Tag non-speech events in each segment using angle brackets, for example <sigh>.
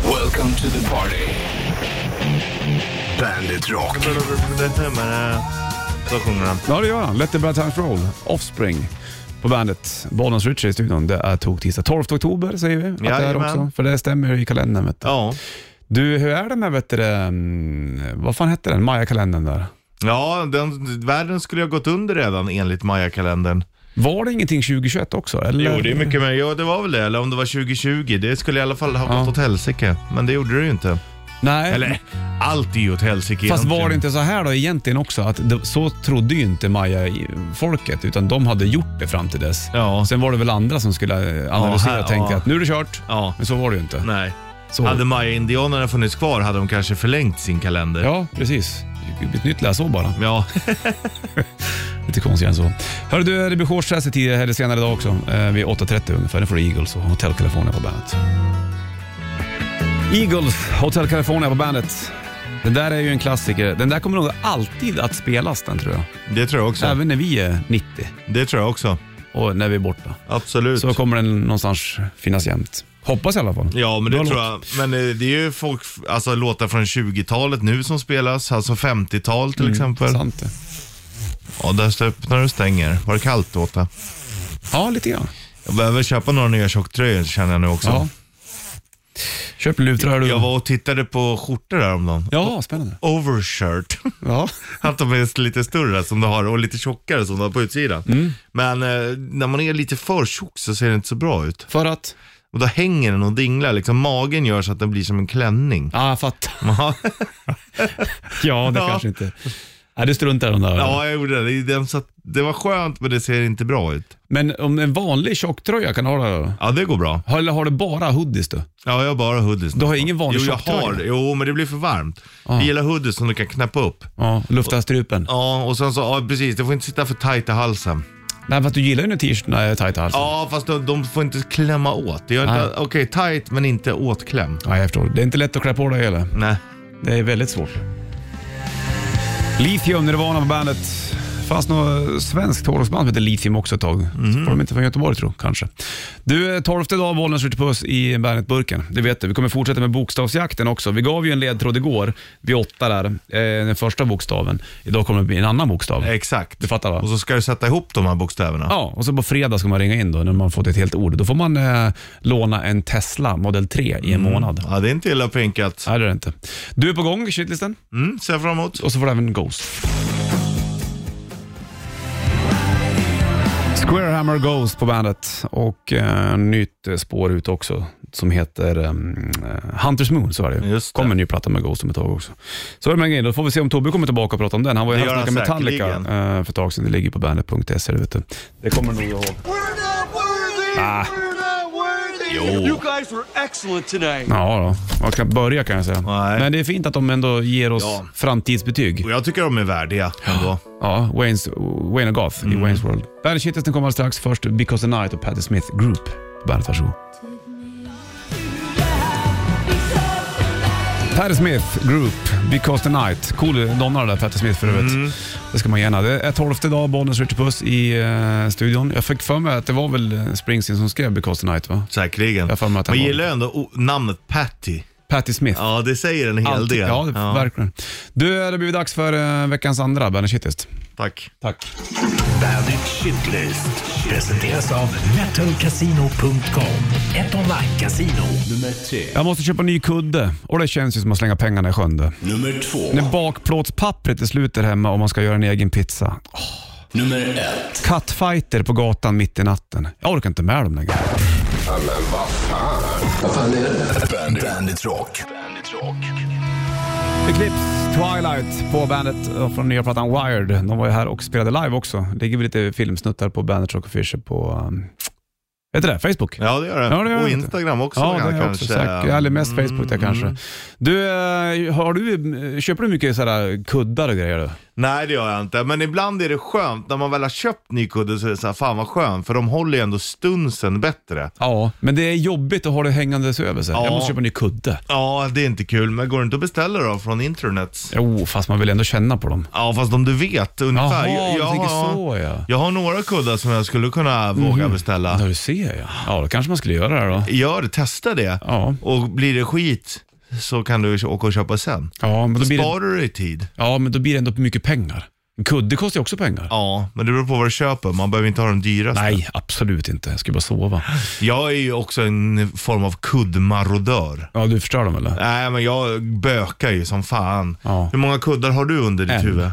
Welcome to the party. Bandit Rock. eh. Så sjunger han. Ja, det gör han. Let the bad times roll. Offspring på bandet. Bonus Richie i studion. Det är tog tisdag 12 oktober säger vi. Att det är Jajamän. också, för det stämmer ju i kalendern. Vet du. Ja. du, hur är det med, vet du, det, mm, vad fan hette den, Maya-kalendern där? Ja, den, världen skulle ju ha gått under redan enligt Maya-kalendern. Var det ingenting 2021 också? Eller? Jo, det är mycket mer. Ja, det var väl det. Eller om det var 2020. Det skulle i alla fall ha gått åt helsike. Men det gjorde det ju inte. Nej, Eller, allt är ju åt helsike fast egentligen. var det inte så här då egentligen också? Att det, så trodde ju inte Maya-folket, utan de hade gjort det fram till dess. Ja. Sen var det väl andra som skulle eh, Ja, analysera här- och tänka ja. att nu är det kört. Ja. Men så var det ju inte. Nej. Så. Hade Maya-indianerna funnits kvar hade de kanske förlängt sin kalender. Ja, precis. Det blir Ett nytt läsår bara. Ja. Lite konstigare än så. Hörru du, det blir shortstrass tidigare eller senare idag också. Eh, vid 8.30 ungefär. Nu får du Eagles och Hotel California på bandet. Eagles, Hotel California på bandet. Den där är ju en klassiker. Den där kommer nog alltid att spelas den tror jag. Det tror jag också. Även när vi är 90 Det tror jag också. och när vi är borta. Absolut. Så kommer den någonstans finnas jämt. Hoppas i alla fall. Ja, men det Bra tror låt. jag. Men eh, det är ju folk, alltså låtar från 20-talet nu som spelas, alltså 50-tal till exempel. Mm, Sant det. Ja, där står- öppnar du och stänger. Var det kallt Åta? Ja, lite grann. Jag behöver köpa några nya tjocktröjor känner jag nu också. Ja. Köp lutrör du. Jag var och tittade på skjortor häromdagen. Ja, spännande. Overshirt. <laughs> Ja. Att de är lite större som du har och lite tjockare som du har på utsidan. Mm. Men eh, när man är lite för tjock så ser det inte så bra ut. För att? Och då hänger den och dinglar liksom. Magen gör så att den blir som en <laughs> klänning. Ja, jag fattar. Ja, <laughs> Ja, det Ja. kanske inte... Nej, du struntar i de där. ja jag gjorde det. Den satt, det var skönt men det ser inte bra ut. Men om en vanlig tjocktröja kan du ha det då? Ja, det går bra. Har- Eller har du bara hoodies du? Ja, jag har bara hoodies. Du har ingen vanlig Jo, jag tjocktröja? har det. Jo, men det blir för varmt. Jag gillar hoodies som du kan knäppa upp. Ja, lufta strupen. Ja, och sen så, ja precis, det får inte sitta för tajt i halsen. Nej, för att du gillar ju när t-shirtarna är tajta alltså. Ja, fast de, de får inte klämma åt. Det gör inte- Okej, tajt men inte åtklämd. Ja, jag förstår. Det är inte lätt att klä på dig heller. Nej. Det är väldigt svårt. Lithium, Nirvana på bandet. fanns något svenskt hårdrocksband som hette Lithium också ett tag. Mhm. Var de inte från Göteborg tror kanske. Du, eh, tolfte dag Bollnäs skjuter puss i Bandet-burken. Det vet du. Vi kommer fortsätta med bokstavsjakten också. Vi gav ju en ledtråd igår, vid åtta där, eh, den första bokstaven. Idag kommer det bli en annan bokstav. Exakt. Du fattar va? Och så ska du sätta ihop de här bokstäverna. Ja, och så på fredag ska man ringa in då när man fått ett helt ord. Då får man eh, låna en Tesla Model 3 i en månad. Ja, det är inte illa pinkat. Nej, det är det inte. Du är på gång, shitlisten. Mm, ser jag fram emot. Och så får du även Ghost. Squarehammer Ghost på bandet och eh, nytt eh, spår ut också som heter um, Hunters Moon. Så är det. ju. Just det. kommer en ny platta med Ghost om ett tag också. Så är det med grejen. Då får vi se om Tobbe kommer tillbaka och pratar om den. Han var ju Det här och gör han snackade Metallica säkerligen. eh, för ett tag sedan. Det ligger på bandet.se. E, Det, vet du. det kommer nog att... Ah. You guys were excellent tonight. Ja, då. man kan börja kan jag säga. Nej. Men det är fint att de ändå ger oss Ja. framtidsbetyg. Och jag tycker de är värdiga ändå. Ja, Waynes, Wayne och Goth Mm. i Wayne's World. Bandet Shitlisten kommer alldeles strax. Först Because the Night och Patti Smith Group. Bandet, varsågod. Patti Smith Group, Because the Night. Cool donna det där Patti Smith för övrigt. Mm. Det ska man gärna. Det är tolfte dag, Bollnäs Richard Puss i eh, studion. Jag fick för mig att det var väl eh, Springsteen som skrev Because the Night va? Säkerligen. Jag får med att han Man var- gillar ju ändå o- namnet Patty. Patti Smith. Ja, det säger en hel Alltid. del. Ja, det, verkligen. Du, det har blivit dags för eh, veckans andra Bandet Shitlist. Tack. Tack. Bandit Shitlist. Presenteras av metalcasino.com. Ett online-casino. Nummer tre. Jag måste köpa ny kudde och det känns ju som att slänga pengarna i sjön. det. Nummer två. När bakplåtspappret är slut där hemma och man ska göra en egen pizza. Nummer ett. Kattfighter på gatan mitt i natten. Jag orkar inte med dem längre. Bandit, Bandit Rock. Bandit Rock. Eclipse Twilight på bandet eh, från nya plattan Wired. De var ju här och spelade live också. Det ligger väl lite filmsnuttar på bandet Rock Fisher på... Um, vet du det? Facebook? Ja, det gör det. Ja, det gör och det. Instagram också Ja, det kanske. Mm. är jag också säkert. Eller mest Facebook där kanske. Du, eh, har du, eh, köper du mycket sådär kuddar och grejer? Då? Nej, det gör jag inte. Men ibland är det skönt. När man väl har köpt ny kudde så är det så här, fan vad skönt. För de håller ju ändå stunsen bättre. Ja, men det är jobbigt att ha det hängandes över sig. Ja. Jag måste köpa en ny kudde. Ja, det är inte kul. Men går det inte att beställa då från internet? Jo, fast man vill ändå känna på dem. Ja, fast om du vet ungefär. Jaha, jag, du tänker har- så Mhm. ja. jag har några kuddar som jag skulle kunna våga beställa. Ja, du ser ja. Ja, då kanske man skulle göra det här då. Gör det, testa det. Ja. Och blir det skit så kan du åka och köpa sen. Ja, men då Då blir det, sparar du dig tid. ja, men då blir det ändå mycket pengar. En kudde kostar ju också pengar. Ja, men det beror på vad du köper. Man behöver inte ha den dyraste. Nej, absolut inte. Jag ska bara sova. Jag är ju också en form av kuddmarodör. Ja, du förstör dem eller? Nej, men jag bökar ju som fan. Ja. Hur många kuddar har du under ditt En. huvud?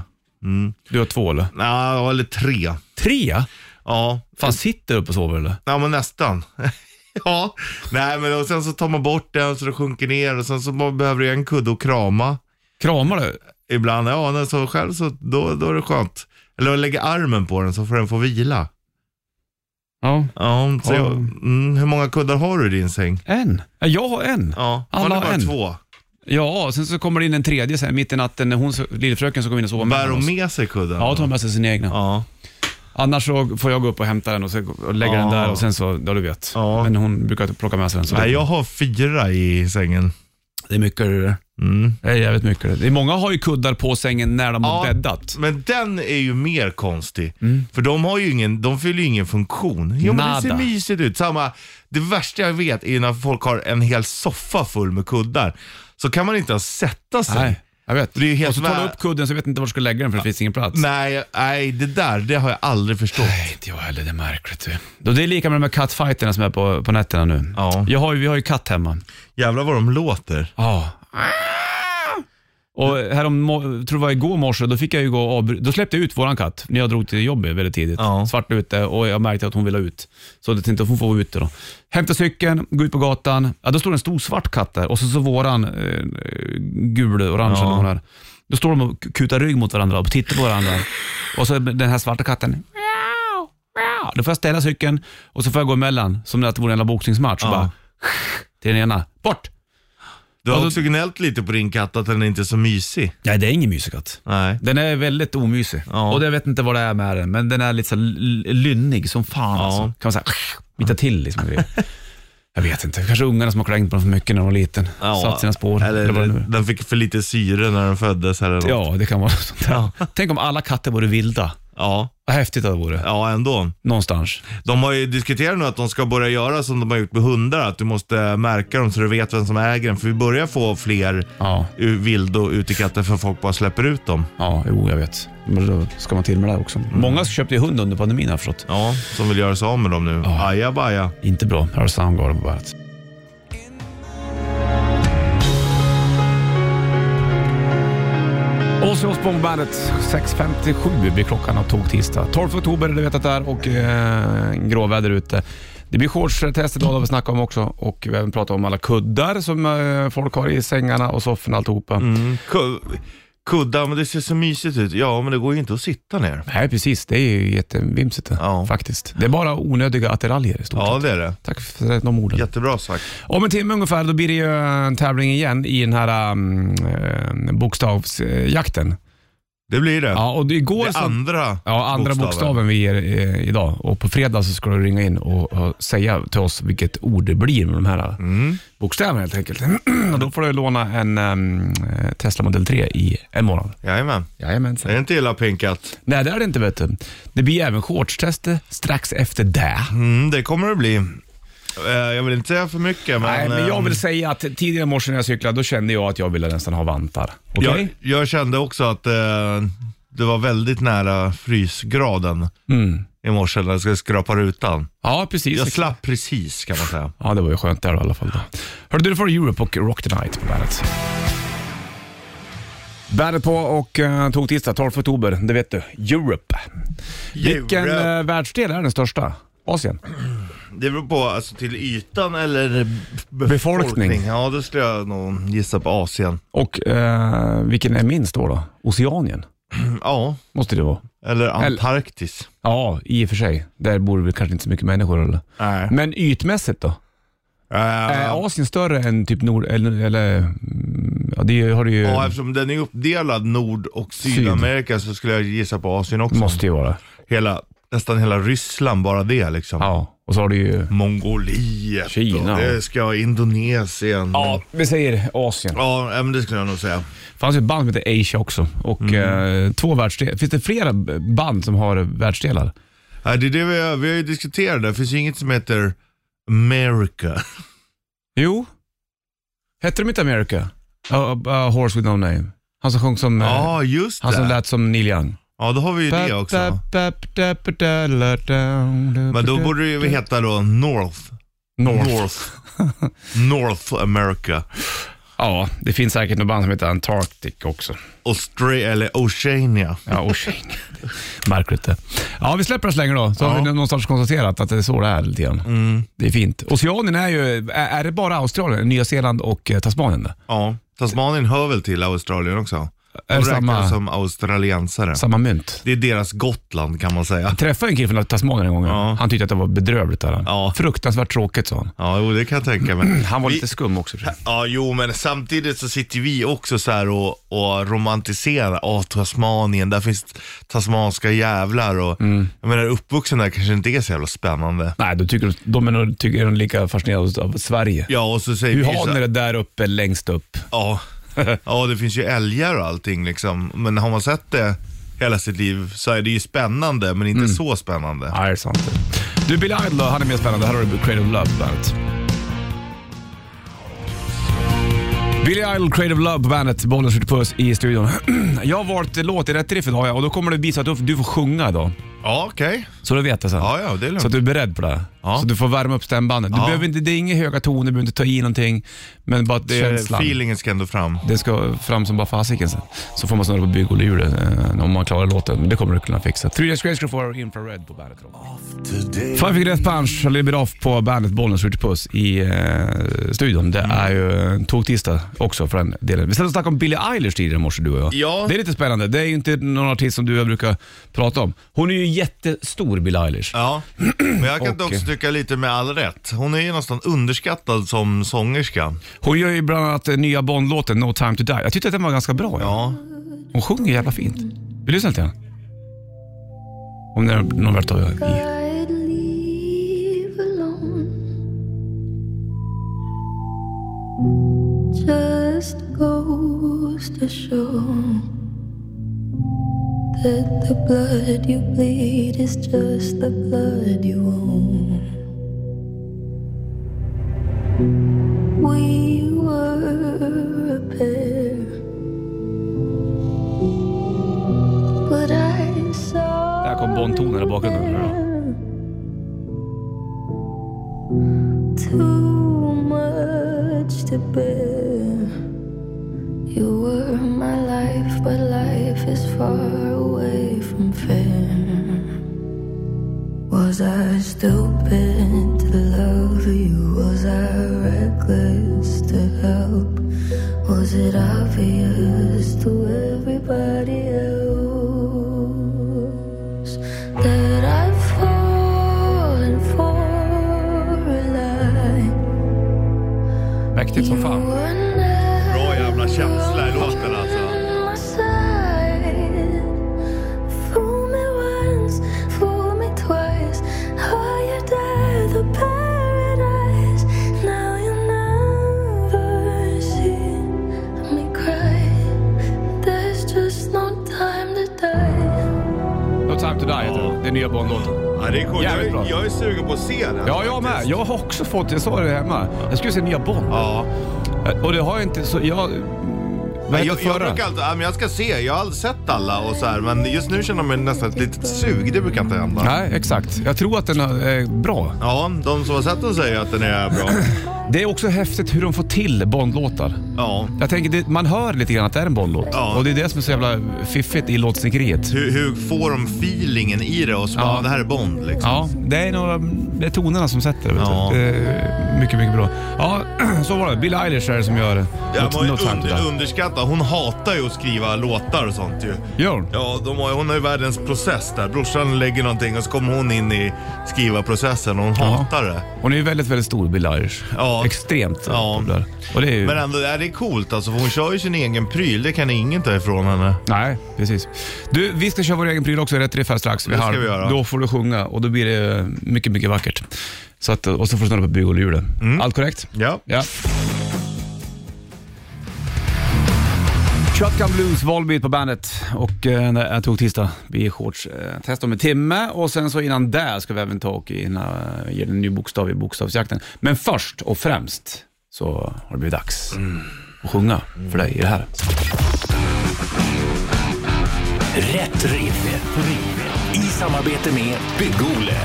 Du har två eller? Ja, eller tre. Tre? Ja, Fan, sitter du upp och sover eller? ja men nästan. <laughs> ja, nej men och sen så tar man bort den så det sjunker ner och sen så man behöver jag en kudde och krama. Kramar du? Ibland, ja, när jag sover själv så då, då är det skönt. Eller jag lägger armen på den så får den få vila. Ja. Ja, så Ja. Jag, mm, hur många kuddar har du i din säng? En? Ja, jag har en. Ja, Alla man har bara en. två. Ja, sen så kommer det in en tredje sen mitt i natten när hon, lillfröken, så kommer in och sover Bär oss. de med sig kudden? Ja, tar med sig sina egna. Ja. Annars så får jag gå upp och hämta den och, så, och lägga Ja. den där och sen så, ja du vet. Ja. Men hon brukar plocka med sig den. Så Nej, jag har fyra i sängen. Det är mycket det där. Mm. Det är jävligt mycket det. det. är- Många har ju kuddar på sängen när de har bäddat. Men den är ju mer konstig. För de, har ju ingen, de fyller ju ingen funktion. Jo, men det ser Mm. Nada. mysigt ut. Samma, det värsta jag vet är när folk har en hel soffa full med kuddar. Så kan man inte ens sätta sig. Nej, jag vet. Mm. Det är ju helt och så tar vä- du upp kudden så jag vet inte var du ska lägga den för det finns ingen plats. Nej, nej, det där det har jag aldrig förstått. Nej, inte jag heller. Det är märkligt. du. Då det är lika med de här kattfighterna som är på, på nätterna nu. Ja. Jag har, ju- vi har ju katt hemma. Jävlar vad de låter. Ja. Ah! Och härom, tror jag det var igår morse, då fick jag ju gå och avbry- Då släppte jag ut våran katt när jag drog till jobbet väldigt tidigt. Ja. Svart ute och jag märkte att hon ville ut. Så jag tänkte att hon får vara ute då. Hämta cykeln, gå ut på gatan. Ja, då står det en stor svart katt där och så, så våran eh, gul, orange Ja. eller vad hon är. Då står de och kutar rygg mot varandra och tittar på varandra. Och så den här svarta katten. "Meow, meow." Då får jag ställa cykeln och så får jag gå emellan som att det vore en jävla boxningsmatch. Och Ja. bara, till den ena. Bort! Du har Ja, då- också gnällt lite på din katt att den inte är så mysig. Nej, det är ingen mysig Nej. Den är väldigt omysig. Ja. Och jag vet inte vad det är med den, men den är lite så här l- l- lynnig som fan Ja. alltså. Kan man säga, bita till <laughs> liksom. jag vet inte, kanske ungarna som har klängt på den för mycket när de var liten. Satt sina spår. Eller, vad det nu är. den fick för lite syre när den föddes. Eller något. Ja, det kan vara <laughs> sånt där. Ja. Tänk om alla katter vore vilda. ja. Vad häftigt det vore. Ja, ändå. Någonstans. De har ju diskuterat nu att de ska börja göra som de har gjort med hundar, att du måste märka dem så du vet vem som äger den. För vi börjar få fler Ja, u- vild och utekatter för folk bara släpper ut dem. ja jo, jag vet. Men då ska man till med det här också. Många köpte ju hund under pandemin har jag förstått. Ja, som vill göra sig av med dem nu. Ja. Aja baja. Inte bra. Här har Soundgarden på bandet. Ozzy Osbourne på bandet. 6.57 blir klockan och tog tisdag. 12 oktober, du vet att det är och eh, gråväder ute. Det blir shortstest idag, det har vi snackat om också. Och vi har även pratat om alla kuddar som eh, folk har i sängarna och sofforna och alltihopa. Mm. Ku- Kuddar, men det ser så mysigt ut. Ja, men det går ju inte att sitta ner. Nej, precis. Det är ju jättevimsigt det, Ja. faktiskt. Det är bara onödiga attiraljer i stort Ja, sett. det är det. Tack för de orden. Jättebra sagt. Om en timme ungefär, då blir det ju en tävling igen i den här um, eh, bokstavsjakten. Det blir det. Ja, och det igår det så, andra ja, andra bokstaven. bokstaven vi ger eh, idag och på fredag så ska du ringa in och, och säga till oss vilket ord det blir med de här eh, Mm. bokstäverna helt enkelt. <clears throat> och då får du låna en ehm, Tesla Model 3 i en månad. Mm. Jajamän. Jajamensan. Det är inte illa pinkat. Nej, det är det inte vet du. Det blir även shortstester strax efter det. Mm, det kommer det bli. Eh, Jag vill inte säga för mycket, men... Nej, men jag ehm, vill säga att tidigare i morse när jag cyklade, då kände jag att jag ville nästan ha vantar. Okej? Jag, jag kände också att eh, det var väldigt nära frysgraden i morse när jag skulle skrapa rutan. Ja, Mm. precis. Jag Exakt. slapp precis kan man säga. Ja, det var ju skönt där i alla fall. Då. Hörde du, det får Europe och Rock the Night på bandet. Bandet på och eh, tog tisdag 12 oktober, det vet du. Europe. <laughs> Vilken Europe. eh, världsdel är den största? Asien? Det beror på alltså, till ytan eller b- Befolkning. Ja, då skulle jag nog gissa på Asien. Och eh, vilken är minst då? då? Oceanien? Ja, Måste det vara. eller Antarktis. Ja, i och för sig. Där bor det kanske inte så mycket människor. Eller? Nej. Men ytmässigt då? Är Eh, Asien större än typ Nord... Eller, eller, mm, ja, det har det ju... Ja, eftersom den är uppdelad Nord och Sydamerika så skulle jag gissa på Asien också. måste ju vara. Hela, nästan hela Ryssland, bara det liksom. Ja, och så har du ju... Mongoliet Kina. och det ska Indonesien. Ja, vi säger Asien. Ja, eh, men det skulle jag nog säga. Det fanns ju ett band som hette Asia också. Och Mm. eh, två världsdelar. Finns det flera band som har världsdelar? Ja, det är det vi, har- vi har ju diskuterat, det finns ju inget som heter America. Jo. Hette de inte America? A, a, a horse with no name. Han som sjöng som... eh, Ja, just han som det. lät som Neil Young. Ja, då har vi ju det också. Men då borde det ju heta då North. North. <laughs> North. North America. Ja, det finns säkert något band som heter Antarctic också. Australia, eller Oceania. <laughs> Ja, och Shane. Märkligt det. Ja, vi släpper det så länge då. Så har vi någonstans konstaterat att det är så det är lite grann. Mm. Det är fint. Oceanien är ju, är är det bara Australien, Nya Zeeland och eh, Tasmanien? det? Ja, Tasmanien hör väl till Australien också? De Är det räknas samma- som australiensare. Samma mynt. Det är deras Gotland kan man säga. Träffade en kille från Tasmanien en gång. Ja. Han tyckte att det var bedrövligt. Där. Ja. Fruktansvärt tråkigt sa han. Ja, jo, det kan jag tänka mig. <clears throat> Han var Vi- lite skum också. tror jag. Ja, jo, men samtidigt så sitter vi också så här och, och romantiserar. Åh, Tasmanien, där finns tasmanska jävlar och Mm. jag menar uppvuxen där kanske inte är så jävla spännande. Nej, då tycker de, de är nog tycker de lika fascinerade av Sverige. Ja, och så säger Hur vi så har ni här, det där uppe, längst upp? Ja. ja, det finns ju älgar och allting liksom. Men har man sett det hela sitt liv så är det ju spännande, men Mm. inte så spännande. Nej, det är sant. Du, Billy Idol då, han är mer spännande. Här har du Creative Love på bandet. Billy Idol, Creative Love på bandet. Bollen skjuter puss i studion. <clears throat> jag har valt låt i rätt riff idag ja, och då kommer det bli så att du, du får sjunga idag. Ja, okej. Så du vet det sen. Ja, ja, det är lugnt. Så att du är beredd på det. Ja. Så du får värma upp stämbandet. Du Ja. behöver inte, det är inga höga toner, du behöver inte ta i någonting. Men bara Det är, känslan. feelingen ska ändå fram. Det ska fram som bara fasiken sen. Så får man snurra på bygghjulet eh, om man klarar låten. Men det kommer du kunna fixa. Three Days Grace ska du få Infrared på bandet. Rock. Five Finger Death Punch och Little Bit Off på bandet Bollnäs skjuter puss i eh, studion. Det är ju en toktisdag också för den delen. Vi satt och snackade om Billie Eilish tidigare i morse du och jag. Ja. Det är lite spännande. Det är ju inte någon artist som du och jag brukar prata om. Hon är ju jättestor Billie Eilish. Ja, men jag <clears throat> kan Och- dock tycka lite med all rätt. Hon är ju nästan underskattad som sångerska. Hon gör ju bland annat eh, nya Bond-låten No Time To Die. Jag tyckte att den var ganska bra. Ja, Hon sjunger jävla fint. Vi lyssnar lite grann. Om det är någon värt att i. I'd leave alone. Just goes to show that the blood you bleed is just the blood you own. We were a pair, but I saw. Där kom Bond-tonen i bakgrunden. Too much to bear. You were my life, but life is far away from fair. Was I stupid to love you? Was I reckless to help? Was it obvious to everybody else that I've fallen for a lie? Mäktigt som fan. were never bra jävla känsla i låten alltså. on my side. Fool me once, fool me twice. Oh, you died the paradise. Now you'll never see me cry. There's just no time to die. No Time To Die heter den. Det är nya Bond-låten. Ja, det är coolt. Jävligt Jag, bra. är- jag är sugen på att se den. Ja, jag med. Jag har också fått, jag sa det hemma. Jag skulle se nya Bond. Ja. Och det har jag inte, så jag... Vad Men hette jag, jag förra? brukar alltid, ja, men jag ska se, jag har aldrig sett alla och så här, men just nu känner jag mig nästan ett litet sug, det brukar inte hända. Nej, exakt. Jag tror att den är eh, bra. Ja, de som har sett den säger att den är <clears throat> bra. Det är också häftigt hur de får till Bond-låtar. Ja. Jag tänker, det, man hör lite grann att det är en Bond-låt. Ja. Och det är det som är så jävla fiffigt i låtsnickeriet. Hur, hur får de feelingen i det och så bara, Ja. det här är Bond liksom. Ja, det är, några, det är tonerna som sätter det. Vet Ja. du. det är mycket, mycket bra. Ja, <clears throat> så var det. Billie Eilish är det som gör det. Jag var No- ju no time to under, die. underskattad. Hon hatar ju att skriva låtar och sånt ju. Gör hon? Ja, de har, hon har ju världens process där. Brorsan lägger någonting och så kommer hon in i skrivarprocessen och hon hatar det. Hon är ju väldigt, väldigt stor, Billie Eilish. Ja. Extremt Ja. populär. Och det är ju... Men ändå, är det är coolt alltså, för hon kör ju sin egen pryl. Det kan ingen ta ifrån henne. Nej, precis. Du, vi ska köra vår egen pryl också, rätt riff här strax. Det ska har- vi göra. Då får du sjunga och då blir det mycket, mycket vackert. Så att, och så får du snurra på bygghjulet. Mm. Allt korrekt? Ja. Ja. Shotgun Blues, Volbeat på bandet och eh, det är tog tisdag. Vi är shorts eh, test om en timme och sen så innan det ska vi även ta och in, eh, ge den en ny bokstav i bokstavsjakten. Men först och främst så har det blivit dags att sjunga för dig i det här. Rätt riff. I samarbete med Bygg-Ole.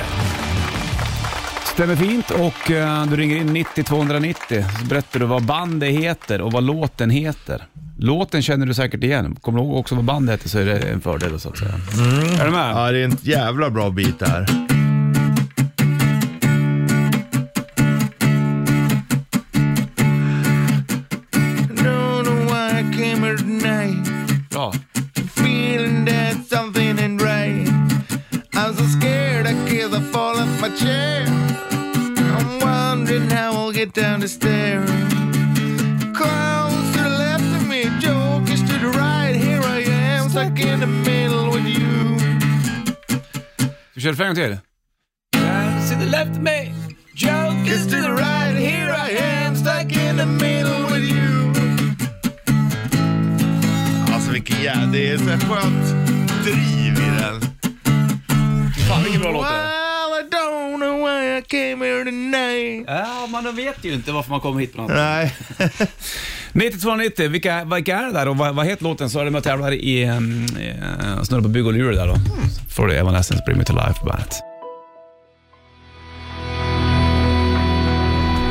Stämmer fint och eh, du ringer in 90 290 så berättar du vad bandet heter och vad låten heter. Låten känner du säkert igen. Kommer du ihåg också vad bandet heter så är det en fördel då, så att säga. Är du med? Ja, det är en jävla bra bit det här. Don't know why I came here tonight. Bra. feeling that something ain't right. I'm so scared I guess I fall off my chair. I'm wondering how I'll get down the stairs. Clowns to the left of me, jokers to the right. Here I am, stuck in the middle with you. Ska vi köra refrängen till? Clowns to the left of me, jokers It's to the right, here I am, stuck in the middle with you. Alltså vilken jävla... Det är så skönt driv i den. Fan vilken bra låt det är. Well, I don't know why I came here tonight. Ja, man vet ju inte varför man kommer hit på något sätt. Nej. 9290, vilka, vilka är det där och vad, vad heter låten? Så är det med och tävlar i um, uh, Snurra på bygg och lurer där då. Får du Evanescence Bring Me To Life på bandet.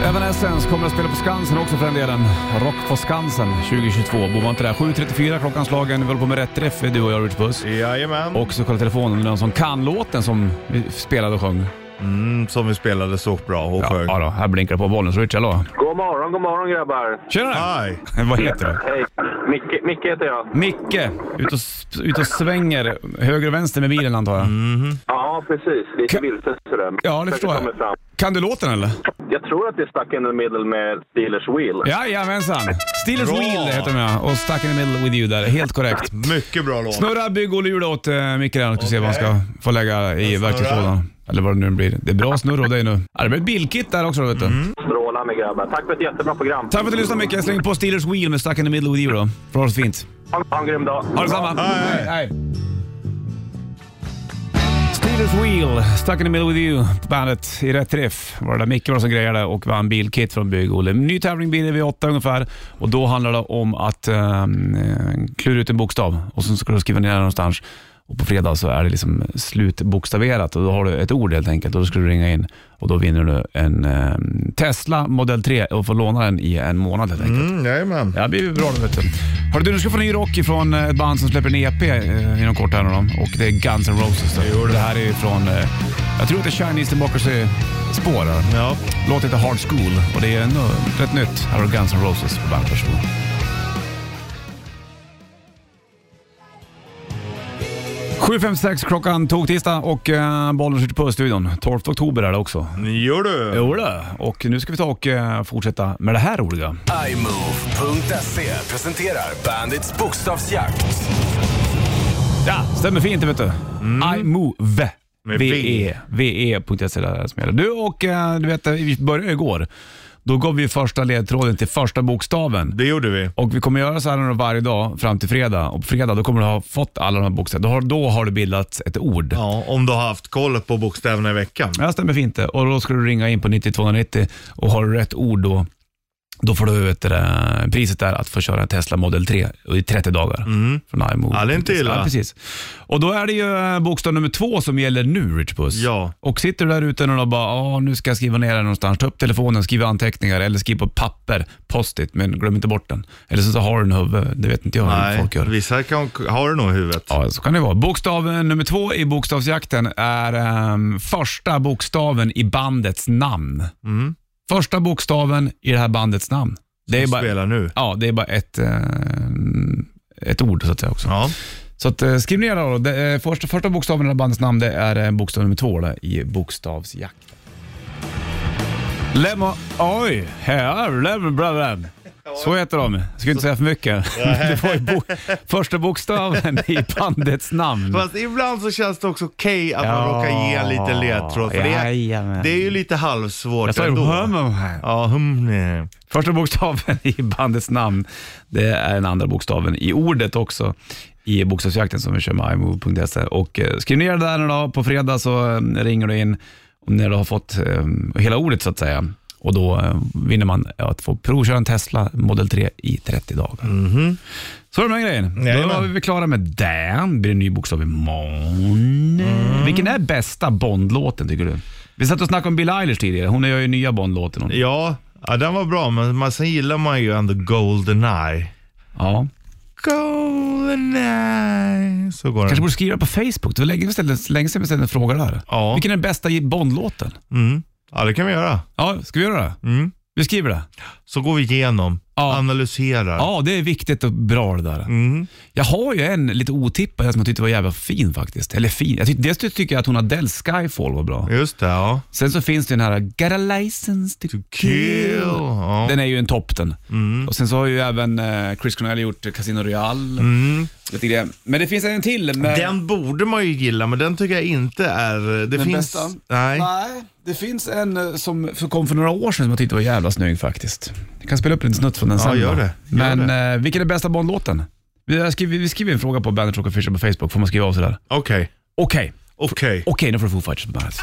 Evanescence kommer att spela på Skansen också för den delen. Rock på Skansen 2022. Bor man inte där? 7.34 klockan slagen. Vi håller på med rätt träff, du och jag Rich Puss. Jajamän. Och så kolla telefonen, någon som kan låten som vi spelade och sjöng. Mm, som vi spelade så bra och Ja, sjöng. ja då, här blinkar det på bollen. Så Rich, hallå. God morgon, god morgon grabbar. Tjena! Aj. <laughs> Vad heter du? Hej. Micke, Micke heter jag. Micke, ut och, s- ut och svänger höger och vänster med bilen antar jag. Ja, precis. Lite Kan- vilsen sådär. Ja, det Försöker förstår ta mig jag. fram. Kan du låten eller? Jag tror att det är stuck in the middle med Steelers wheel. Jajamensan! Steelers Bra. Wheel heter den ja. Och Stuck in the middle with you där. Helt korrekt. Mycket bra låt. Snurra bygg och lura åt eh, Micke där så att vi ser vad han ska få lägga i snurrar. verktygslådan. Eller vad det nu blir. Det är bra snurr av dig nu. Ja, det blir ett bilkit där också vet du. Mm. Strålande grabbar. Tack för ett jättebra program. Tack för att du lyssnade Micke. Jag slänger på Steelers Wheel med Stuck in the middle with you då. För ha det så fint. Ha- Ha en grym dag. Ha detsamma! Hej. hej! Steelers Wheel, Stuck in the middle with you, på bandet i rätt träff. Var det där Micke var som grejade och vann bilkit från Bygg-Olle. Ny tävling blir det vid åtta ungefär och då handlar det om att ehm, eh, klura ut en bokstav och sen ska du skriva ner den någonstans. Och på fredag så är det liksom slutbokstaverat och då har du ett ord helt enkelt och då ska du ringa in och då vinner du en ehm, Tesla Model 3 och får låna den i en månad helt enkelt. Mm, jajamän. Ja, det blir bra det vet du. Hörru du, nu ska få ny rock från ett band som släpper en EP eh, inom kort här nu då. Och det är Guns N' Roses. Det, det här är från, eh, jag tror att det är Chinese Democracy spår här. Ja. Låten heter Hard School och det är ändå rätt nytt. Här har du Guns N' Roses på bandet. Varsågod. Sju, fem, sex klockan tog tisdag och eh, bollen skjuter på studion. 12 oktober är det också. Gör du? Jo, det. Och nu ska vi ta och eh, fortsätta med det här roliga. iMove.se presenterar Bandits bokstavsjakt. Ja, stämmer fint det vet du. E. iMove. Med VE. VE.se E där som gäller. Du och eh, du vet, vi började igår. Då gav vi första ledtråden till första bokstaven. Det gjorde vi. Och vi kommer göra så här nu varje dag fram till fredag. Och på fredag då kommer du ha fått alla de här bokstäverna. Då har, då har det bildats ett ord. Ja, om du har haft koll på bokstäverna i veckan. Ja, stämmer fint det. Och då ska du ringa in på 9290 och har du rätt ord då, då får du vet, du det, priset där att få köra en Tesla Model 3 i 30 dagar. Från iMove. Mm. Ja, det är inte illa. Ja, precis. Och då är det ju eh, bokstav nummer två som gäller nu, Rich Puss. Ja. Och sitter du där ute och då bara, "Ah, nu ska jag skriva ner det någonstans. Ta upp telefonen, skriv anteckningar eller skriv på papper, post-it, men glöm inte bort den. Eller så, så har du den i huvudet, det vet inte jag hur Nej, folk gör. vissa kan, har du nog i huvudet. Ja, så kan det vara. Bokstav nummer två i bokstavsjakten är ehm, första bokstaven i bandets namn. Första bokstaven i det här bandets namn. Det är, bara, Spela nu. ja, det är bara ett, ehm, ett ord så att säga också. Ja. Så att, eh, skriv ner det då. Det, eh, första, första bokstaven i det här bandets namn det är eh, bokstav nummer två där, i bokstavsjakten. Lemon... Oj! Här, lemon, bla, bla. Så heter de. Jag Ska inte säga <laughs> för mycket. <laughs> Det var ju bo första bokstaven i bandets namn. Fast ibland så känns det också okej att man Mm. Ja. råkar ge en liten ledtråd. För det, Jajamän. är, det är ju lite halvsvårt Jag sa ju ändå. Hummel här. Ja, hum, nej. Första bokstaven i bandets namn, det är den andra bokstaven i ordet också i bokstavsjakten som vi kör med imove.se. Och eh, skriv ner det där nu då. På fredag så eh, ringer du in när du har fått eh, hela ordet så att säga. Och då eh, vinner man att få provköra en Tesla Model 3 i 30 dagar. Så är det med den grejen. Mhm. Jajamän. Då är vi klara med den. Det blir en ny bokstav imorgon. Mm. Vilken är bästa Bond-låten tycker du? Vi satt och snackade om Bill Eilish tidigare. Hon gör ju nya Bond-låten. hon. Ja, ja, den var bra, men man, sen gillar man ju ändå Goldeneye. Ja. Goldeneye. Så går Kanske den. borde skriva på Facebook. Det var länge sedan länge sedan vi ställde en fråga där. Ja. Vilken är den bästa Bond-låten? Ja, det kan vi göra. Ja, ska vi göra det? Mm. Vi skriver det? Så går vi igenom, Ja. analyserar. Ja, det är viktigt och bra det där. Jag har ju en lite otippad som jag tyckte var jävligt fin faktiskt. Eller fin. Jag tyck, dels tycker jag att hon Adeles Skyfall var bra. Just det, ja. Sen så finns det ju den här Got a license to, Kill. kill. Mm. Ja. Den är ju en topp den. Och sen så har ju även eh, Chris Cornell gjort Casino Royale. Lite grejer. Men Mm. det finns en till. Med, Den borde man ju gilla, men den tycker jag inte är... eh, Det den finns... bästa? Nej. Det finns en eh, som för- kom för några år sedan som jag tyckte var jävla snygg faktiskt. Jag kan spela upp en snutt från den Ja, sen. gör då. det. Gör Men eh, vilken är bästa Bond-låten? Vi har skrivit- vi skriver en fråga på Bandit Rock Official på Facebook, får man skriva av sig där? Okej. Okej. Okej. Okej, då får Foo Fighters på bandet.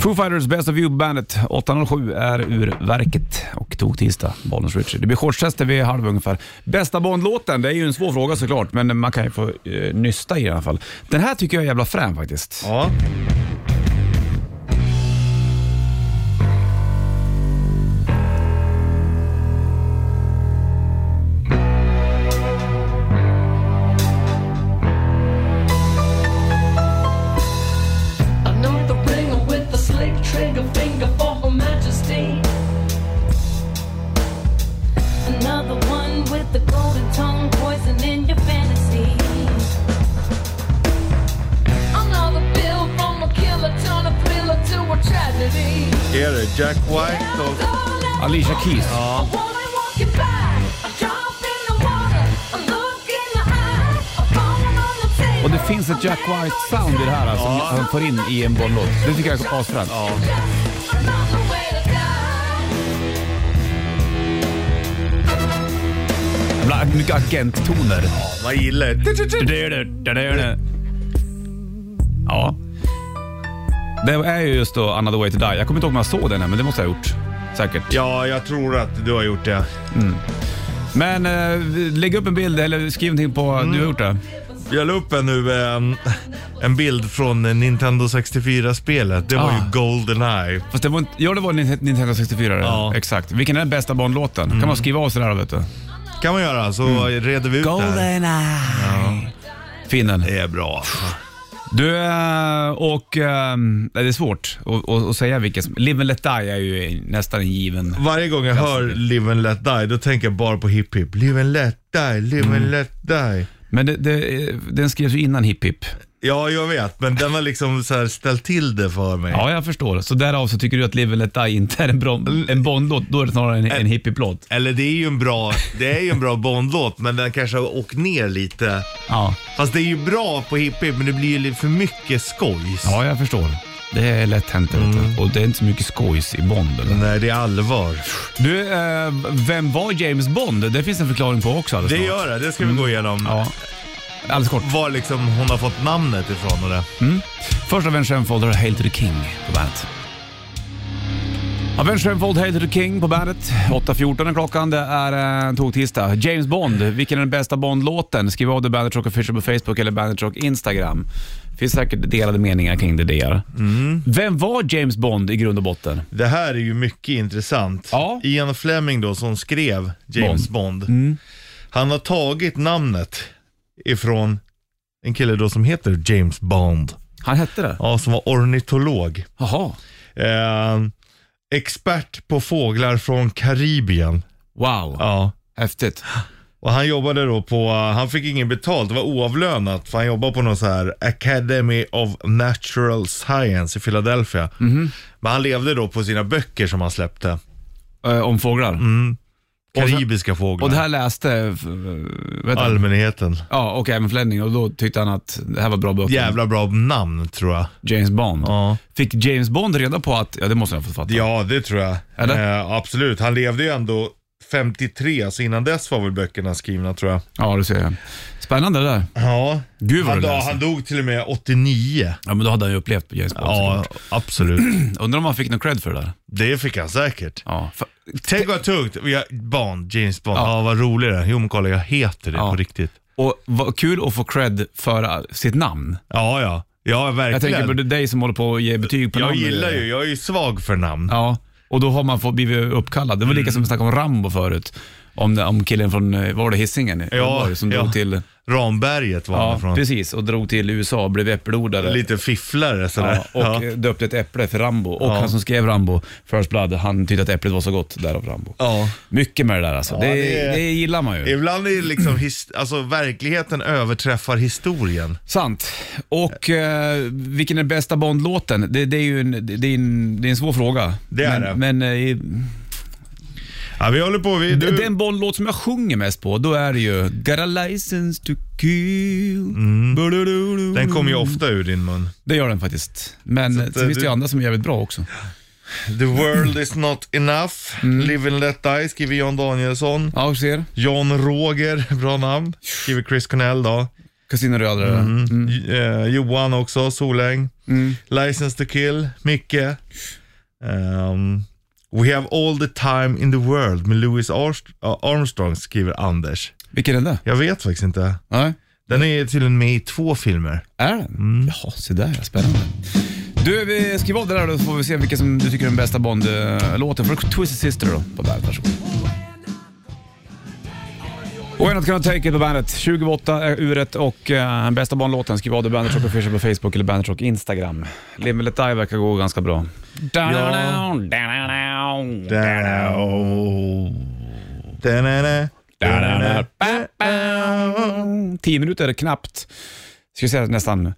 Foo Fighters Best of You-bandet 807 är ur verket och tog tisdag, Bollnäs Richie. Det blir shortstester vid halv ungefär. Bästa Bond-låten, det är ju en svår fråga såklart, men man kan ju få eh, nysta i den i alla fall. Den här tycker jag är jävla frän faktiskt. Ja. I know the ringer with the slick trigger finger for Her Majesty. Another one with the golden tongue poison in your fantasy. Another bill from a killer, turn a thriller to a tragedy. Är det Jack White och... Alicia Keys. A woman walking by, a drop in the water, a look in the eye, a phone on the table. Och det finns ett Jack White-sound i det här alltså, som han får in i en Bond-låt. Det tycker jag är asfränt. Another way to die. Bland- Mycket agenttoner. Man gillar det. Ja. Det är ju just då Another Way To Die. Jag kommer inte ihåg om jag såg den här, men det måste jag ha gjort. Säkert. Ja, jag tror att du har gjort det. Men eh, lägg upp en bild eller skriv någonting på... Mm. Du har gjort det? Jag la upp en nu en, en bild från eh, Nintendo 64-spelet. Det var Ah. ju Goldeneye. Fast det var inte... Ja, det var Nint- Nintendo 64. Ja. Mm. Exakt. Vilken är den bästa Bond-låten? kan man skriva av sig där då, vet du. kan man göra, så reder vi ut det här. Fin den. Det är bra. alltså. Du, eh, och... eh, Det är svårt att- att att säga vilken som... Live and Let Die är ju nästan en given... Varje gång jag hör Live and Let Die, då tänker jag bara på Hip Hip. Live and Let Die, Live and Let Die. Men det, det, den skrevs ju innan Hip Hip. Ja, jag vet, men den har liksom så här ställt till det för mig. Ja, jag förstår. Så därav så tycker du att Live and Let Die inte är en, bra, en Bond-låt, då är det snarare en, en hippie-plåt. Eller det är ju en bra, det är ju en bra Bond-låt, men den kanske har åkt ner lite. Ja. Fast det är ju bra på Hip Hip, men det blir ju lite för mycket skojs. ja, jag förstår. Mm. Det är lätt hänt, det, vet du. Och det är inte så mycket skojs i Bond. Eller? Nej, det är allvar. Du, eh, vem var James Bond? Det finns en förklaring på också alldeles Det snart. gör det, det ska vi gå igenom. Ja. Alldeles kort. Var liksom hon har fått namnet ifrån och det. Först Avenged Sevenfold och Hail to the King på bandet. Avenged Sevenfold, Hail to the King på bandet. 8.14 är klockan, det är eh, en tog-tisdag. James Bond, vilken är den bästa Bond-låten? Skriv av det Bandet Rock Official på Facebook eller Bandet Rock Instagram. finns säkert delade meningar kring det där. Vem var James Bond i grund och botten? Det här är ju mycket intressant. Ja. Mm. Ian Fleming då som skrev James Bond. Han har tagit namnet ifrån en kille då som heter James Bond. Han hette det? Ja, som var ornitolog. Jaha. Eh, expert på fåglar från Karibien. Wow. Ja. Häftigt. Och han jobbade då på, eh, han fick ingen betalt, det var oavlönat för han jobbade på någon så här Academy of Natural Science i Philadelphia. Mhm. Men han levde då på sina böcker som han släppte. Eh, om fåglar. sen- Karibiska fåglar. Och det här läste... eh, Vet du? Allmänheten. Ja, och även Fleming och då tyckte han att det här var bra böcker. Jävla bra namn tror jag. James Bond. Ja. Fick James Bond reda på att, ja det måste jag ha fått fatta. Ja, det tror jag. Eller? Eh, absolut. Han levde ju ändå 53, så innan dess var väl böckerna skrivna tror jag. Ja, du ser. jag. Spännande det där. Ja. Gud, vad han, du dog, läser. han dog till och med 89. Ja, men då hade han ju upplevt James Bond. Ja, såklart. absolut. Undrar om han fick någon cred för det där. Det fick han säkert. Ja. För, Tänk vad tungt. Vi har Bond, James Bond. Ja. Ja, vad rolig det är. Jo men kolla, jag heter det Ja. på riktigt. och vad kul att få cred för äh, sitt namn. Ja, ja. Ja, Jag verkligen. tänker på det- dig som håller på att ge betyg på jag namn. gillar ju, jag är ju svag för namn. Ja, och då har man fått, blivit uppkallad. Det var lika som vi snackade om Rambo förut. Om, om killen från, eh, var det Hisingen? var det, som ja. drog till... Ramberget var han Ja, från. precis. Och drog till USA och blev äppelodare. Lite fifflare Ja, sådär. och Ja. eh, döpte ett äpple för Rambo. Och Ja. han som skrev Rambo, First Blood, han tyckte att äpplet var så gott, därav Rambo. Ja. Mycket med det där alltså. det, det det, är- gillar man ju. Ibland är det liksom, his- alltså verkligheten överträffar historien. Sant. Och eh, vilken är bästa Bond-låten? Det, det är ju en, det det är en, det är en svår fråga. Det är men, det. Men eh, i- Ja, vi håller på. Vi, du, den Bond-låt som jag sjunger mest på, då är det ju Got a license to kill. Ba-da-da-da. Mm. den kommer ju ofta ur din mun. Det gör den faktiskt. Men att, sen eh, finns det ju du- andra som är jävligt bra också. The world is not enough. Live and let die skriver John Danielsson. Ja, och ser. John Roger, <laughs> bra namn. Skriver Chris Cornell då. Casino Rödare. Mm. J- eh, Johan också, Soläng. License to kill, Micke. Ehm, We have all the time in the world med Louis Arst- ja, Armstrong skriver Anders. Vilken är den där? Jag vet faktiskt inte. Nej. Den är tydligen med i två filmer. Är den? Jaha, se där ja. Spännande. Du, vi skriver av det där då så får vi se vilken som du tycker är den bästa Bond-låten. För Twisted Sister då, på bandet. Varsågod. Och en att kunna take it på bandet. 28 är uret och eh, bästa Bond-låten. Skriv av det bandet Rock Official på Facebook eller bandet Rock Instagram. Live and Let Die verkar gå ganska bra. Da-na-na, da-na-na. Tio minuter är det knappt. Ska jag säga nästan...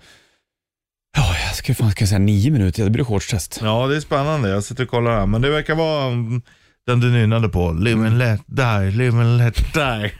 Ja, jag skulle fan kunna säga nio minuter. Det blir shortstest. Ja, det är spännande. Jag sitter och kollar här. Men det verkar vara mm, den du nynnade på. Live and let die, live and let die.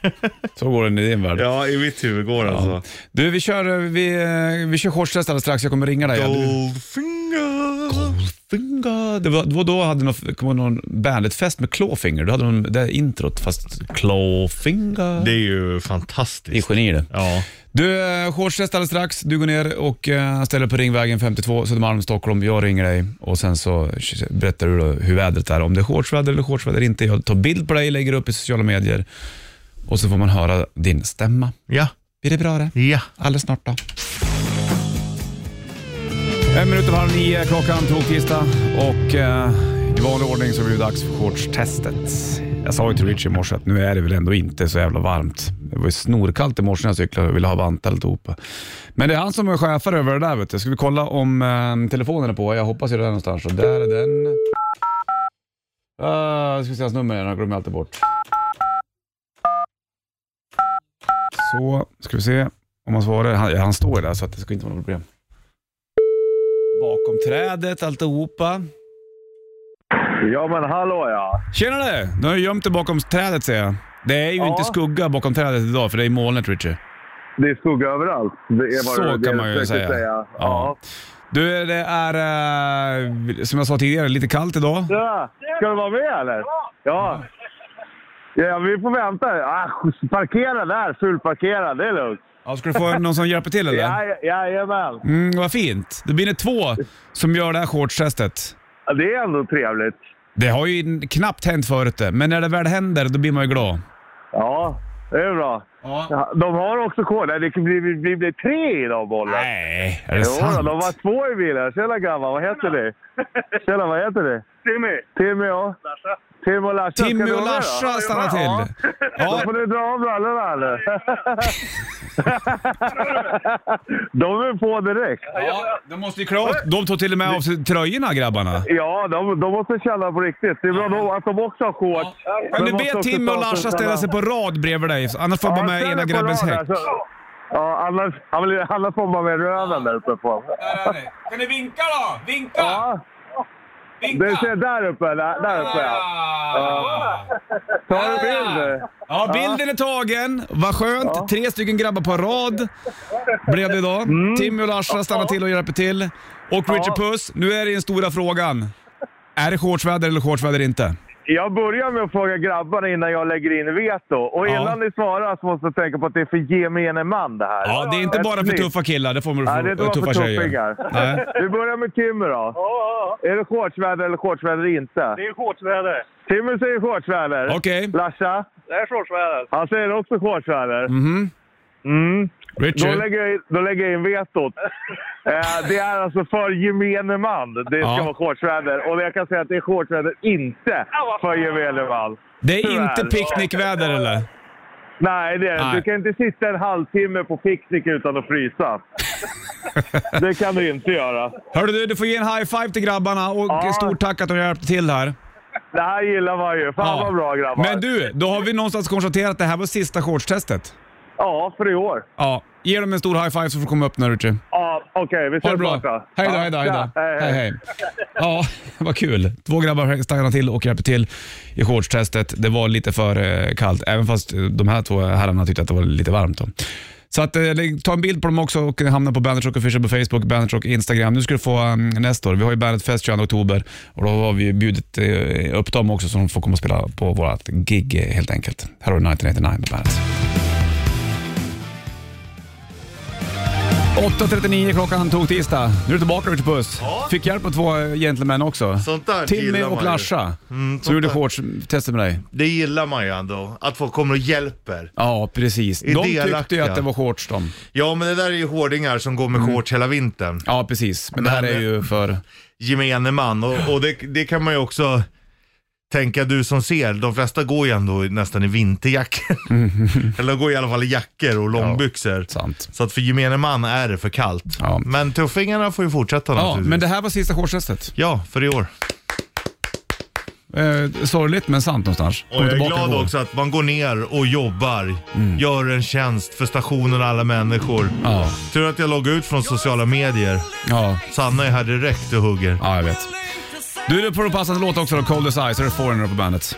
Så går den i din värld. <laughs> ja, i mitt huvud går det alltså. Du, vi kör, eh, vi, eh, vi kör shortstest alldeles strax. Jag kommer ringa dig. Du- Goldfinger. Goldfinger. Det var, det var då hade någon, kom någon bandetfest med Clawfinger. Du hade någon, det här introt fast Clawfinger. Det är ju Det är fantastiskt. geni det. Ja. Du, eh, shortstest alldeles strax. Du går ner och eh, ställer på Ringvägen 52 Södermalm, Stockholm. Jag ringer dig och sen så berättar du då hur vädret är. Om det är shortsväder eller shortsväder inte. Jag tar bild på dig, lägger upp i sociala medier och så får man höra din stämma. Ja. Blir det bra det? Ja. Alldeles snart då. En minut över halv nio, klockan tog tisdag och eh, i vanlig ordning så blir det dags för shortstestet. Jag sa ju till Richie i morse att nu är det väl ändå inte så jävla varmt. Det var ju snorkallt i morse när jag cyklade och ville ha vantar alltihopa. Men det är han som är chefar över det där vet du. Ska vi kolla om eh, telefonen är på? Jag hoppas ju det är någonstans. Så där är den. Uh, ska vi se hans nummer, han glömmer jag alltid bort. Så, ska vi se om han svarar. Han, ja, han står ju där så att det ska inte vara något problem. Bakom trädet, alltihopa. Ja, men hallå ja. Tjenare! Du har ju gömt dig bakom trädet ser jag. Det är ju Ja. inte skugga bakom trädet idag för det är molnigt Richie. Det är skugga överallt. Det är Så det kan jag man ju försöker säga. Ja. Du, det är eh, som jag sa tidigare lite kallt idag. Ja. Ska du vara med eller? Ja. Ja, vi får vänta. Ah, parkera där, fullparkera. Det är lugnt. Ja, ska du få någon som hjälper till eller? Ja, jajamän. Mm, vad fint. Det blir ni två som gör det här shortstestet. Ja, Det är ändå trevligt. Det har ju knappt hänt förut det, men när det väl händer då blir man ju glad. Ja, det är bra. Ja. Ja, De har också kod. Nej, Det blir, blir, blir, blir tre i de bollarna. Nej, är det Jo, då, sant? de var två i bilen. Tjena grabbar, vad heter ni? Tjena, vad heter ni? Timmy. Timmy ja. Tim och Larsa. Ska Timmy ni och vara med då? Larsa stannar till. Då Ja, får ni dra av brallorna nu. <laughs> de är på direkt. ja, de måste ju klä av- De tog till och med av sig tröjorna grabbarna. Ja, de, de måste känna på riktigt. Det är bra då att de också har shorts. Kan Men du måste be också Tim och ta sig Larsa samman. ställa sig på rad bredvid dig? Annars får jag bara med ställ ena dig på grabbens rad alltså. häck. här, så- Ja, annars, annars får man med röven där uppe på. Kan du vinka då? Vinka! Ja, det ser där uppe. Där, där uppe ja. Ah. Tar du bild nu? Ja, bilden är tagen. Vad skönt. Tre stycken grabbar på rad blev det idag. Mm. Timmy och Larsa stannar till och hjälper till. Och Richard Puss, nu är det den stora frågan. Är det shortsväder eller shortsväder inte? jag börjar med att fråga grabbarna innan jag lägger in veto. Och Ja. innan ni svarar så måste jag tänka på att det är för gemene man det här. Ja, det är inte Ett bara för snitt. tuffa killar, det får man Nej, det för, är bara för tuffa tjejer. tuffingar. Nej. Vi börjar med Timmer då. Är det shortsväder eller shortsväder inte? Det är shortsväder. Timmer säger shortsväder. Okej, Larsa? Det är shortsväder. Han säger också shortsväder. Mm. Mm. Då, Richard. lägger jag in, då lägger jag in vetot. <laughs> eh, det är alltså för gemene man det ska Ja. vara shortsväder. Och jag kan säga att det är shortsväder inte för gemene man. Det är tyvärr. inte picknickväder eller? Nej, det är det. Nej. Du kan inte sitta en halvtimme på picknick utan att <laughs> frysa. det kan du inte göra. Hörru du, du får ge en high-five till grabbarna och Ja. stort tack att du hjälpte till här. Det här gillar man ju. Fan Ja. vad bra grabbar. Men du, då har vi någonstans konstaterat att det här var sista shortstestet. Ja, för i år. Ja, ge dem en stor high-five så får du komma upp nu Richie. Ja, okej. vi Ha ses det bra. snart då. Hej då, Ja, hej då, hej tja. då. Hej, hej. Ja, vad kul. Två grabbar stannade till och hjälpte till i shortstestet. Det var lite för eh, kallt, även fast eh, de här två herrarna tyckte att det var lite varmt. Då. Så att, eh, lägg- ta en bild på dem också och hamna på Bandit Rock Official på Facebook, Bandit Rock Instagram. Nu ska du få um, nästa år. Vi har ju Bandit Fest 22 oktober och då har vi bjudit eh, upp dem också så de får komma och spela på vårt gig eh, helt enkelt. Här har du 1989 på Bandit. 8.39 klockan tog tisdag. Nu är du tillbaka Richard Puss. Fick hjälp av två eh, gentlemän också. Sånt där Timmy gillar man och ju. Larsa. Mm, som sånt gjorde där. shortstestet med dig. Det gillar man ju ändå, att folk kommer och hjälper. Ja, precis. De tyckte ju delaktiga. att det var shorts de. Ja, men det där är ju hårdingar som går med Mm. shorts hela vintern. Ja, precis. Men, det här Men- är ju för... Gemene man. Och, och det, det kan man ju också tänka, du som ser, de flesta går ju ändå nästan i vinterjackor. Mm. <laughs> Eller de går i alla fall i jackor och långbyxor. Sant. Så att för gemene man är det för kallt. Ja. Men tuffingarna får ju fortsätta Ja, naturligtvis. men det här var sista shortstestet. Ja, för i år. Eh, sorgligt men sant någonstans. Och jag är tillbaka glad igår. också att man går ner och jobbar, gör en tjänst för stationen och alla människor. Ja, Tur att jag loggade ut från sociala medier. ja, Sanna är här direkt och hugger. ja, jag vet. Du, nu får du passa en låt också då. Cold as Ice, så är det Foreigner på bandet.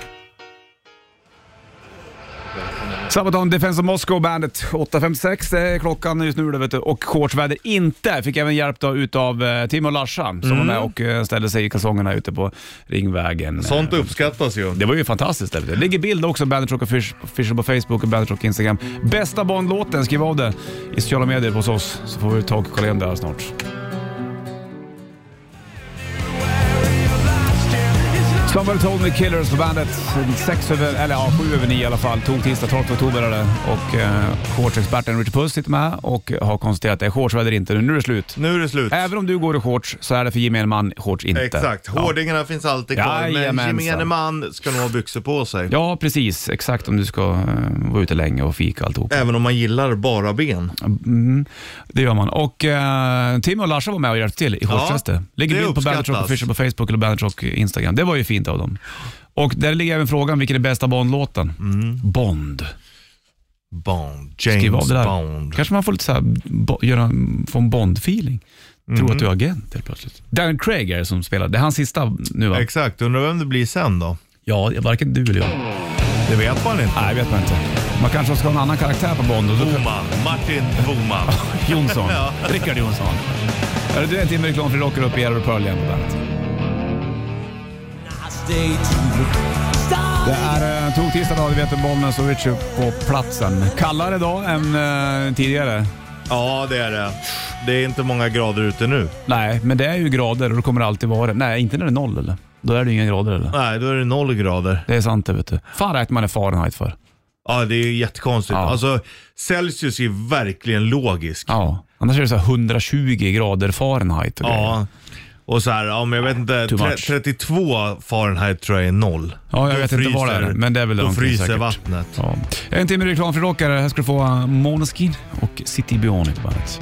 Sabaton, Defense of Moscow, bandet. 8.56 är klockan just nu då, vet du. och shortsväder inte. Fick även hjälp då utav eh, Tim och Larsa som var med och eh, ställde sig i kalsongerna ute på Ringvägen. Sånt uppskattas ju. Det var ju fantastiskt. Det ligger bild också, Bandit Rock Official på Facebook och Bandit Rock Instagram. Bästa Bond-låten, skriv av det i sociala medier hos oss så får vi ta och kolla igen det här snart. Somebody told me killers på bandet. Sex över, eller ja, sju över nio i alla fall. Tog tisdag 12 oktober är det. Och eh, shortsexperten Richard Puss sitter med och har konstaterat att det är shortsväder inte. Nu är det slut. Nu är det slut. Även om du går i shorts så är det för gemene man shorts inte. Exakt. Ja. Hårdingarna finns alltid kvar, men Jajamensan. gemene man ska nog ha byxor på sig. Ja, precis. Exakt om du ska eh, vara ute länge och fika och alltihop. Även om man gillar bara ben. Mm, det gör man. Och eh, Tim och Larsa var med och hjälpte till i shortstestet. ligger det bild på Bandit Rock uppskattas. Official på Facebook eller Bandit Rock Instagram. Det var ju fint av dem. Och där ligger även frågan, vilken är bästa Bond-låten? Bond. Bond. Skriv Mm. James av det där. Bond. Kanske man får lite så här, bo, göra, få en Bond-feeling. Tro Mm. att du är agent helt plötsligt. Dan Craig är det som spelar. Det är hans sista nu va? Exakt. Undrar vem det blir sen då? ja, varken du eller jag. Det vet man inte. Nej, vet man inte. Man kanske ska ha en annan karaktär på Bond. Och då Boman. Martin Boman. <laughs> Jonsson. Ja. Rickard Jonsson. Är det en timme reklam för Rocker upp i Aero Pearl igen på bandet. Det är eh, tog tisdag dag, du vet Bollnäs och Richie på platsen. Kallare idag än eh, tidigare. Ja, det är det. Det är inte många grader ute nu. Nej, men det är ju grader och det kommer alltid vara det. Nej, inte när det är noll eller? Då är det ju inga grader eller? Nej, då är det noll grader. Det är sant det vet du. Fan räknar man i Fahrenheit för? Ja, det är ju jättekonstigt. Ja. Alltså, Celsius är ju verkligen logisk. Ja. Annars är det så här 120 grader Fahrenheit. och grejer. Ja. Och så här, ja, men jag vet inte, too tre- much. 32 Fahrenheit tror jag är noll. Ja, jag Då vet inte vad det är, fryser- men det är väl Då någonting fryser säkert. vattnet. Ja. En timme reklam för rockare. Här ska du få eh, Måneskin och City Bionic på bandet.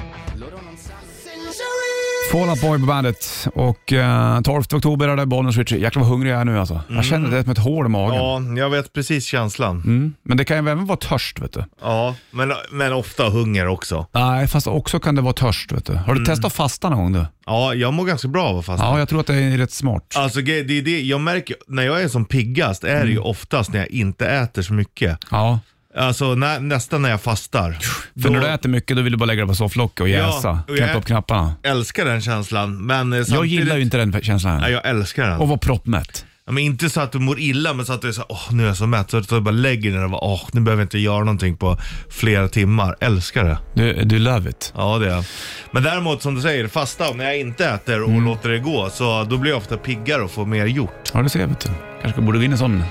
Fall Out Boy på bandet och eh, 12 oktober är det Bollnäs Ritchie. Jäklar vad hungrig jag är nu alltså. Jag känner det som ett hål i magen. Mm. Ja, jag vet precis känslan. Mm. Men det kan ju även vara törst vet du. Ja, men, men ofta hunger också. Nej, fast också kan det vara törst vet du. Har Mm. du testat att fasta någon gång du? Ja, jag mår ganska bra av att fasta. Ja, jag tror att det är rätt smart. Alltså grej- det är det, jag märker, när jag är som piggast är Mm. det ju oftast när jag inte äter så mycket. Ja. Alltså när, nästan när jag fastar. För Då- när du äter mycket då vill du bara lägga dig på sofflocket och jäsa. och jag Knäppa ä- upp knapparna. älskar den känslan, men eh, Jag samtidigt- gillar ju inte den känslan. Nej, jag älskar den. Och vara proppmätt. Ja, men inte så att du mår illa, men så att du är så här, åh nu är jag så mätt. Så att du bara lägger dig där och bara, åh nu behöver jag inte göra någonting på flera timmar. Älskar det. Du, du love it. Ja, det är jag. Men däremot som du säger, fasta, när jag inte äter Mm. och låter det gå, så då blir jag ofta piggare och får mer gjort. Ja, det ser jag. Vet du. Kanske borde gå in i en sån. Nej.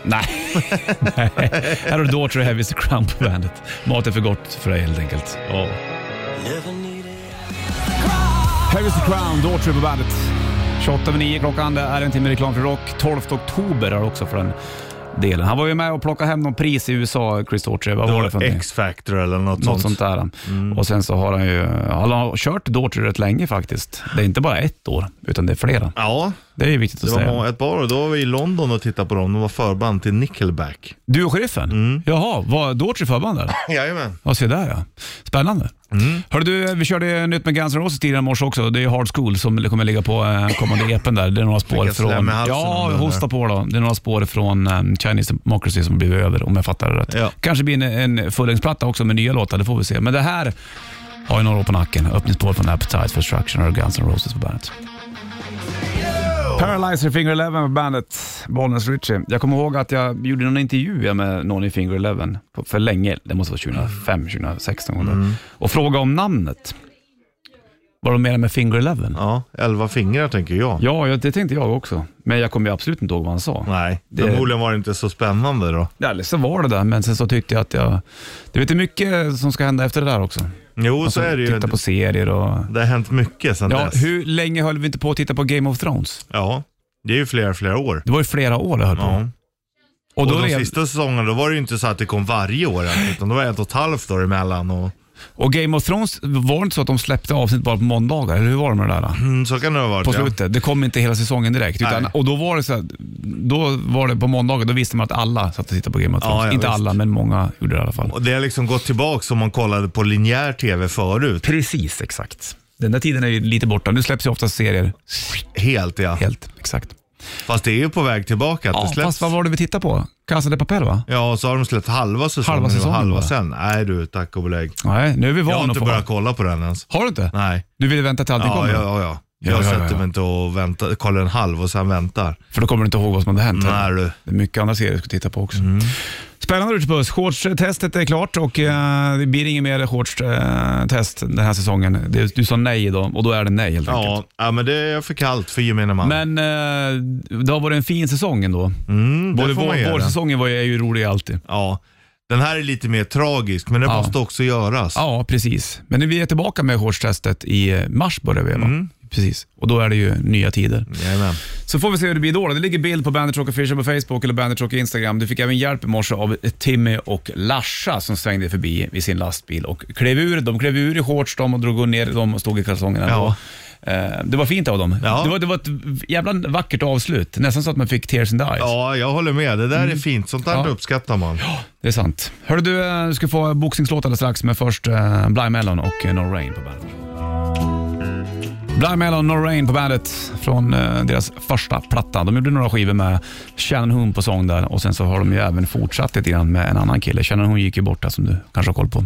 <laughs> Nej. Här har du Daughter Heavy is the Crown på bandet. Mat är för gott för dig helt enkelt. Ja. Heavy is the Crown, Daughter på bandet. 28 över 9 klockan, det är en timme reklam för rock. 12 oktober är också för den delen. Han var ju med och plockade hem någon pris i USA, Chris Daughtry. Vad Det var det för var någonting? X-Factor eller något, Något sånt. Mm. sånt där. Och sen så har han ju han har kört Daughtry rätt länge faktiskt. Det är inte bara ett år, utan det är flera. Ja, Det är ju viktigt att det var säga. må- ett par år. Då var vi i London och tittade på dem. De var förband till <laughs> Nickelback. Du och sheriffen? Mm. Jaha, var Daughtry <laughs> förband där? Jajamän. Ja, se där ja. Spännande. Mm. Hörru du, eh, vi körde nytt med Guns N' Roses tidigare i morse också. Det är Hard School som kommer ligga på eh, kommande EPn där. Det är några spår Fick jag slem från... i halsen Ja, om den hosta på då. Det är några spår från eh, Chinese Democracy som blir över om jag fattar det rätt. Ja. Kanske blir en, en fullängdsplatta också med nya låtar, det får vi se. Men det här har ju några år på nacken. Öppningsspår från Appetite for Destruction och Guns N' Roses på bandet. Paralyzer Finger Eleven på bandet, Bollnäs Ritchie. Jag kommer ihåg att jag gjorde någon intervju jag med någon i Finger Eleven på- för länge, det måste vara Mm. 2005, 2006 någon gång där. och frågade om namnet. Vad de menar med Finger Eleven? Ja. Ja, elva fingrar tänker jag. ja, det tänkte jag också. Men jag kommer ju absolut inte ihåg vad han sa. Nej, Det- förmodligen var det inte så spännande då. Ja, Eller så var det där, men sen så tyckte jag att jag... Det är inte mycket som ska hända efter det där också. Jo, Alltså, så är det ju. Titta på serier och... Det har hänt mycket sedan Ja, dess. hur länge höll vi inte på att titta på Game of Thrones? Ja, det är ju flera, flera år. Det var ju flera år det höll på. Ja. Och Och, då de rev- sista säsongerna då var det ju inte så att det kom varje år, utan det var ett och ett halvt år emellan. Och, Och Game of Thrones, var det inte så att de släppte avsnitt bara på måndagar? Eller hur var det med det där? då? mm, så kan det ha varit På ja. slutet. Det kom inte hela säsongen direkt. Utan, Nej. och då var det så här, då var det på måndagar, då visste man att alla satt och tittade på Game of Thrones. Ja, ja, inte visst. alla, men många gjorde det i alla fall. Och det har liksom gått tillbaka som man kollade på linjär tv förut. Precis, exakt. Den där tiden är ju lite borta. Nu släpps ju ofta serier Helt ja. helt. Exakt. Fast det är ju på väg tillbaka att det Ja, släpps. fast vad var det vi tittade på? Casa de Papel va? Ja, och så har de släppt halva säsongen. Halva nu och säsongen halva bara. sen. Nej du, tack och belägg. Nej, nu är vi Jag har vana inte att få- börjat kolla på den ens. Har du inte? Nej. Du vill vänta till allting Ja, kommer? ja, ja, ja. Ja, Jag ja, ja, sätter ja. Mm. mig inte och väntar, kollar en halv och sen väntar. För då kommer du inte ihåg vad som hade hänt. Nej, heller. du. Det är mycket andra serier du ska titta på också. Mm. Spännande Rich Buss. Shortstestet är klart och eh, det blir inget mer shortstest eh, den här säsongen. Det, du sa nej idag och då är det nej helt enkelt. Ja, ja, men det är för kallt för gemene man. Men eh, det har varit en fin säsong ändå. mm, det Både får man vår, göra. vårsäsongen var ju, är ju rolig alltid. Ja, den här är lite mer tragisk, men det Ja. måste också göras. Ja, precis. Men vi är tillbaka med shortstestet i eh, mars börjar vi va? Mm. Precis, och då är det ju nya tider. Jajamän. Så får vi se hur det blir då. Det ligger bild på Bandit Rock Official på Facebook eller Bandit Rock Instagram. Du fick även hjälp i morse av Timmy och Larsa som svängde förbi i sin lastbil och klev ur. De klev ur i shorts de och drog ner dem och stod i kalsongerna. Ja. Eh, Det var fint av dem. Ja. Det, var, det var ett jävla vackert avslut. Nästan så att man fick tears in the eyes. Ja, jag håller med. Det där är fint. Sånt där Mm. Ja. uppskattar man. Det är sant. Hörru du, eh, du ska få boxningslåt alldeles strax, men först eh, Blind Melon och eh, No Rain på bandet. Blind Melon, No Rain på bandet från eh, deras första platta. De gjorde några skivor med Shannon Hoon på sång där och sen så har de ju även fortsatt lite grann med en annan kille. Shannon Hoon gick ju bort där som du kanske har koll på.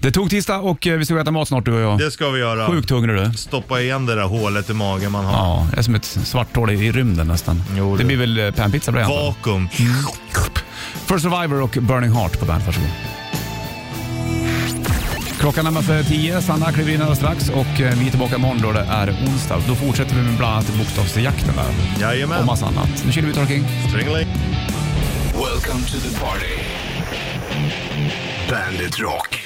Det tog tisdag och eh, vi ska gå och äta mat snart du och jag. Det ska vi göra. Sjukt hungrig du. Stoppa igen det där hålet i magen man har. Ja, det är som ett svart hål i i rymden nästan. Jo, det. du. blir väl eh, panpizza på det antar jag. Vakuum. Mm. För Survivor och Burning Heart på bandet. Varsågod. Klockan närmar sig tio. Sanna kliver in alldeles strax och eh, vi är tillbaka imorgon då det är onsdag. Då fortsätter vi med bland annat bokstavsjakten där och Jajamän. massa annat. Nu kör vi ut King. Stringeling. Welcome to the party. Bandit Rock.